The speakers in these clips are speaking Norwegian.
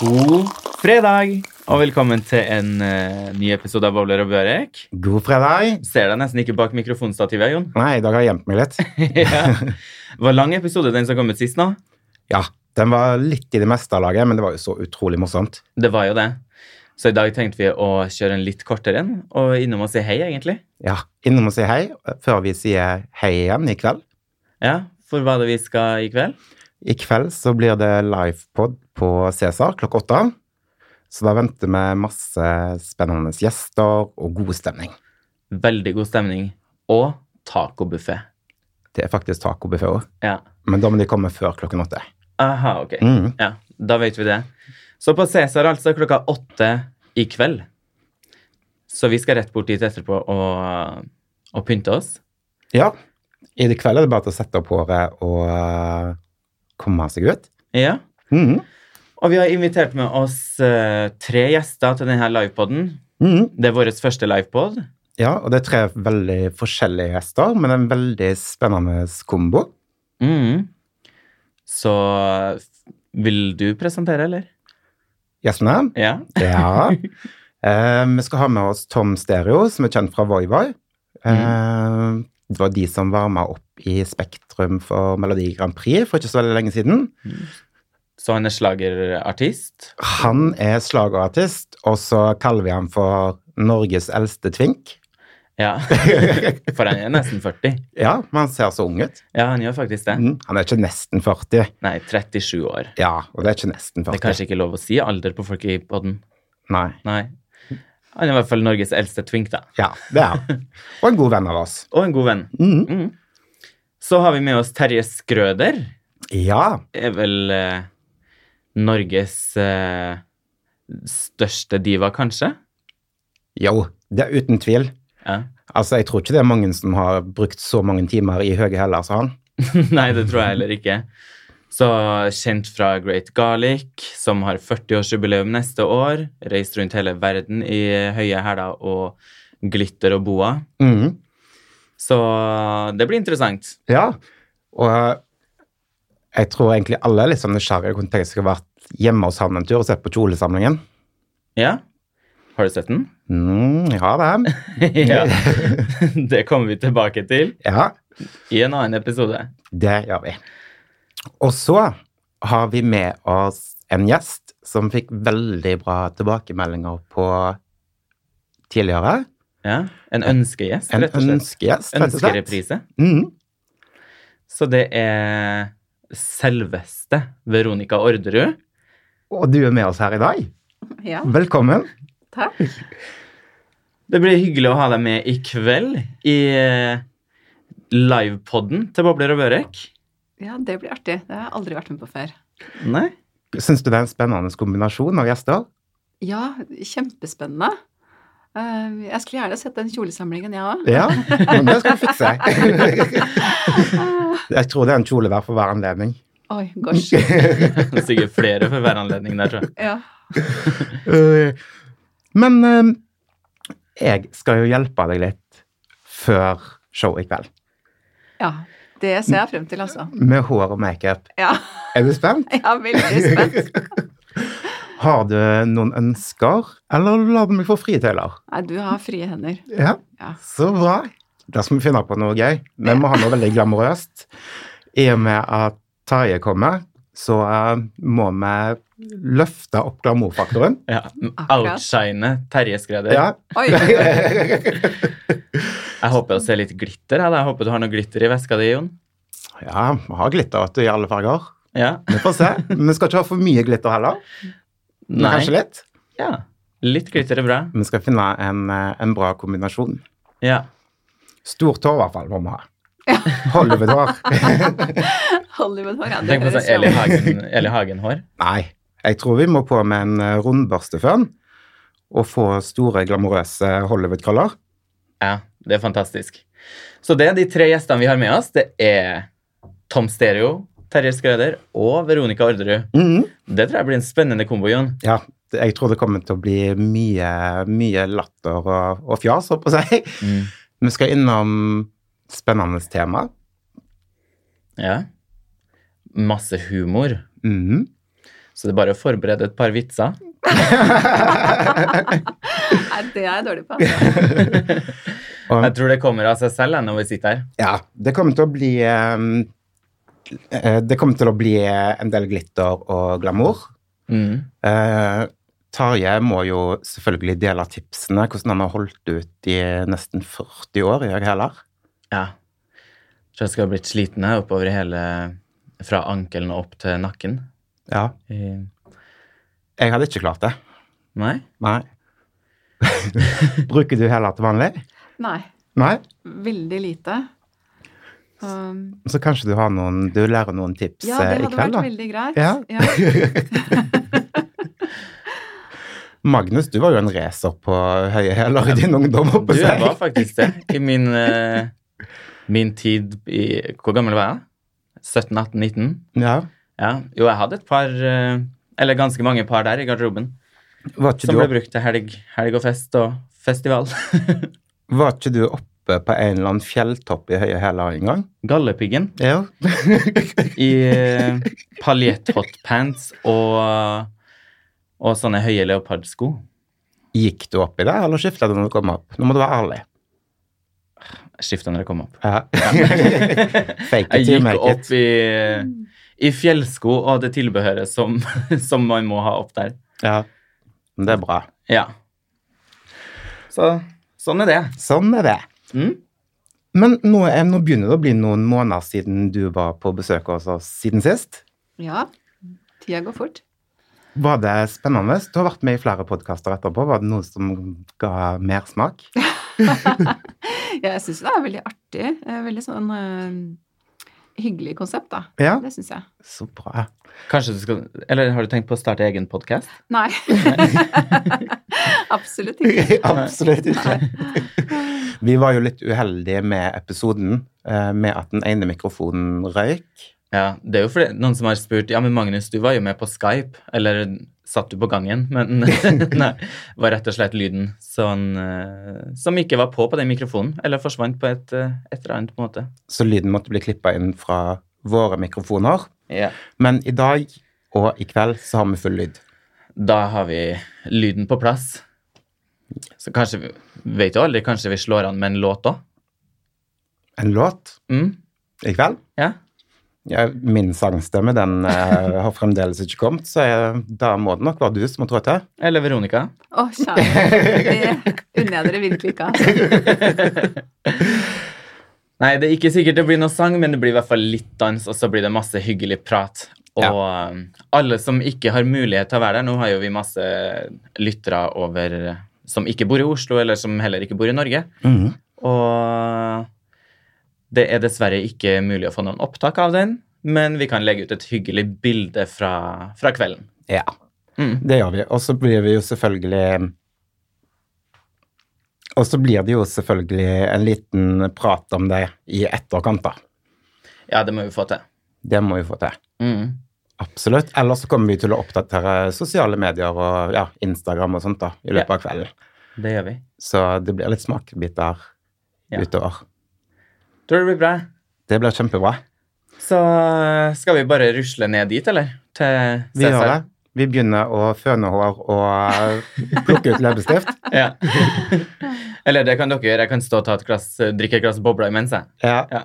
God fredag, og velkommen til en eh, ny episode av Bowler og Børek. God fredag. Ser deg nesten ikke bak mikrofonstativet, Jon. Nei, i dag har jeg gjemt meg litt. ja. Var lang episode den som kom ut sist nå? Ja, den var litt i det meste av laget, men det var jo så utrolig morsomt. Det var jo det. Så i dag tenkte vi å kjøre en litt kortere en, og innom og si hei, egentlig. Ja, innom og si hei før vi sier hei igjen i kveld. Ja, for hva er det vi skal i kveld? I kveld så blir det livepod på Cæsar klokka åtte. Så da venter vi masse spennende gjester og god stemning. Veldig god stemning. Og tacobuffé. Det er faktisk tacobuffé òg, Ja. men da må de komme før klokken åtte. Aha, ok. Mm. Ja, da vet vi det. Så på Cæsar altså klokka åtte i kveld. Så vi skal rett bort dit etterpå og, og pynte oss. Ja, i det kveld er det bare til å sette opp håret og eh, komme seg ut. Ja. Mm. Og vi har invitert med oss eh, tre gjester til denne livepoden. Mm. Det er vår første livepod. Ja, og det er tre veldig forskjellige gjester, men en veldig spennende kombo. Mhm. Så vil du presentere, eller? Gjestene? Ja. Ja. eh, vi skal ha med oss Tom Stereo, som er kjent fra Voivoi. Eh, Mm. det var de som varma opp i Spektrum for Melodi Grand Prix for ikke så veldig lenge siden. Så han er slagerartist. Han er slagerartist, og så kaller vi ham for Norges eldste tvink. Ja. For han er nesten 40. Ja, men han ser så ung ut. Ja, han gjør faktisk det. Mm. Han er ikke nesten 40. Nei, 37 år. Ja, og det er ikke nesten 40. Det er kanskje ikke lov å si alder på folk i podden. Nei. Nei. Han er i hvert fall Norges eldste twink, da. Ja, det er han. Og en god venn av oss. Og en god venn. Mm. Mm. Så har vi med oss Terje Skrøder. Ja, Er vel eh, Norges eh, største diva, kanskje? jo, det er uten tvil. Ja. Altså, jeg tror ikke det er mange som har brukt så mange timer i høye hæler som han. Nei, det tror jeg heller ikke. Så kjent fra Great Garlic, som har 40-årsjubileum neste år. Reist rundt hele verden i eh, høye hæler og glitter og boa. Mm. Mhm. Så det blir interessant. Ja, og eh, jeg tror egentlig alle er litt sånn nysgjerrige og kunne tenkt seg å ha vært hjemme hos han en tur og sett på kjolesamlingen. Ja. Har du sett den? Mm, ja, det. ja. Det kommer vi tilbake til Ja, i en annen episode. det gjør vi. Og så har vi med oss en gjest som fikk veldig bra tilbakemeldinger på tidligere. Ja. En ønskegjest, En rett og slett. ønskegjest, rett og slett. Ønskereprise. Mhm. Så det er selveste Veronica Orderud. Og du er med oss her i dag. Ja, Velkommen. takk. Det blir hyggelig å ha deg med i kveld i eh, livepodden til Bobler og Børek. Ja, det blir artig. Det har jeg aldri vært med på før. Nei? Syns du det er en spennende kombinasjon av gjester? Ja, kjempespennende. Eh, Jeg skulle gjerne sett den kjolesamlingen, jeg òg. Ja, men det skal vi fikse. Jeg tror det er en kjole hver for hver anledning. Oi, gosh. Sikkert flere for hver anledning der, tror jeg. Ja. Eh, Men eh, jeg skal jo hjelpe deg litt før show i kveld. ja. Det ser jeg frem til, altså. Med hår og makeup. Ja, Er du spent? jeg er veldig spent. Har du noen ønsker, eller lar du meg få fritøyler? Nei, du har frie hender. Ja, Ja. så bra. Da skal vi finne på noe gøy. Vi må ha noe veldig glamorøst. I og med at Terje kommer, så eh, må vi løfte opp glamourfaktoren. Ja. Akkurat. Outshine Terje Skreder. Ja. Oi. Jeg håper å se litt glitter. jeg, da. Jeg håper du har noe glitter i veska di, Jon. ja, vi har glitter vet du, i alle farger. Ja. Vi får se. Men Vi skal ikke ha for mye glitter heller. Men Nei. kanskje litt. Ja. Litt glitter er bra. Vi skal finne en, eh, en bra kombinasjon. Ja. Stort hår i hvert fall må vi ha. Hollywood-hår. Hollywood-hår, ja. Det Tenk på høres sånn Eli jo- Hagen, Eli Hagen-hår. Nei, jeg tror vi må på med en eh, rundbørsteføn og få store, glamorøse Hollywood-krøller. Ja, det er fantastisk. Så det er de tre gjestene vi har med oss. Det er Tom Stereo, Terje Skrøder og Veronica Orderud. Det tror jeg blir en spennende kombo, Jon. Ja, det- jeg tror det kommer til å bli mye, mye latter og, og fjas, holdt på å si. Mm. Vi skal innom spennende tema. Ja. Masse humor. Mhm. Så det er bare å forberede et par vitser. Nei, det er jeg dårlig på. altså. Jeg tror det kommer av seg selv jeg, når vi sitter her. Ja, det kommer til å bli ehm, eh, Det kommer til å bli en del glitter og glamour. Mm. Eh, Tarjei må jo selvfølgelig dele tipsene, hvordan han har holdt ut i nesten 40 år, jeg heller. Ja. Jeg tror jeg skal ha blitt sliten jeg, oppover hele Fra ankelen og opp til nakken. Ja. I- Jeg hadde ikke klart det. Nei? Nei. Bruker du heller til vanlig? Nei, Nei? veldig lite. Um, Så kanskje du har noen Du lærer noen tips ja, det eh, i hadde kveld, vært da. veldig greit. Ja. Magnus, du var jo en racer på høye hæler i din ungdom. Du, oppe jeg var faktisk det. I min, eh, min tid i Hvor gammel var jeg? 17, 18, 19? Ja. Ja. Jo, jeg hadde et par eh, Eller ganske mange par der i garderoben. Var ikke Som du ble brukt til helg, helg og fest og festival. Var ikke du oppe på en eller annen fjelltopp i høye hæler en gang? Gallepiggen Ja. i eh, paljetthotpants og, og sånne høye leopardsko. Gikk du oppi det, eller skifta du når du kom opp? Nå må du være ærlig. Skifta når jeg kom opp. Ja. Fake it Jeg till you gikk make it. opp i, i fjellsko og det tilbehøret som, som man må ha opp der. Ja. Men det er bra. Ja. Så sånn er det. Sånn er det. Mm. Men nå, er, nå begynner det å bli noen måneder siden du var på besøk hos oss siden sist. ja. Tida går fort. Var det spennende? Du har vært med i flere podkaster etterpå. Var det noe som ga mersmak? Ja, jeg syns det er veldig artig. eh, Veldig sånn eh, hyggelig konsept, da. Ja, Det syns jeg. så bra. Kanskje du skal Eller har du tenkt på å starte egen podkast? Nei. Absolutt ikke. Absolutt ikke. Vi var jo litt uheldige med episoden, eh, med at den ene mikrofonen røyk. Ja, det er jo fordi noen som har spurt Ja, men Magnus, du var jo med på Skype. Eller satt du på gangen? Men nei. Det var rett og slett lyden sånn, eh, som ikke var på på den mikrofonen. Eller forsvant på et, eh, et eller annet måte. Så lyden måtte bli klippa inn fra våre mikrofoner. Ja. Men i dag og i kveld så har vi full lyd. Da har vi lyden på plass. Så kanskje vi Vet jo aldri. Kanskje vi slår an med en låt òg? En låt Mm. i kveld. Ja. Ja, min sangstemme den eh, har fremdeles ikke kommet, så eh, da må det nok være du som må trå til. Eller Veronica? Å, kjære. Det unner jeg dere virkelig ikke. Altså. Nei, det er ikke sikkert det blir noe sang, men det blir i hvert fall litt dans, og så blir det masse hyggelig prat. Og um, alle som ikke har mulighet til å være der, nå har jo vi masse lyttere over eh, som ikke bor i Oslo, eller som heller ikke bor i Norge. Mm. Og eh, det er dessverre ikke mulig å få noen opptak av den, men vi kan legge ut et hyggelig bilde fra, fra kvelden. Ja, Mm. det gjør vi. Og så blir vi jo selvfølgelig Og så blir det jo selvfølgelig en liten prat om det i etterkant, da. Ja, det må vi få til. Det må vi få til. Mm. Absolutt. Ellers så kommer vi til å oppdatere sosiale medier og ja, Instagram og sånt da, i løpet Ja. av kvelden. Det gjør vi. Så det blir litt smakebiter Ja. utover. Tror det blir bra. Det blir kjempebra. Så eh, skal vi bare rusle ned dit, eller? Til Vi gjør det. Vi begynner å føne hår og eh, plukke ut leppestift. Ja. Eller det kan dere gjøre. Jeg kan stå og ta et glass, drikke et glass bobler imens. jeg. Ja. Ja.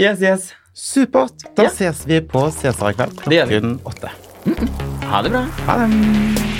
yes, yes. Supert. Da Ja. ses vi på Cæsar i kveld Det gjør vi. klokken åtte. Ha det bra. Ha det.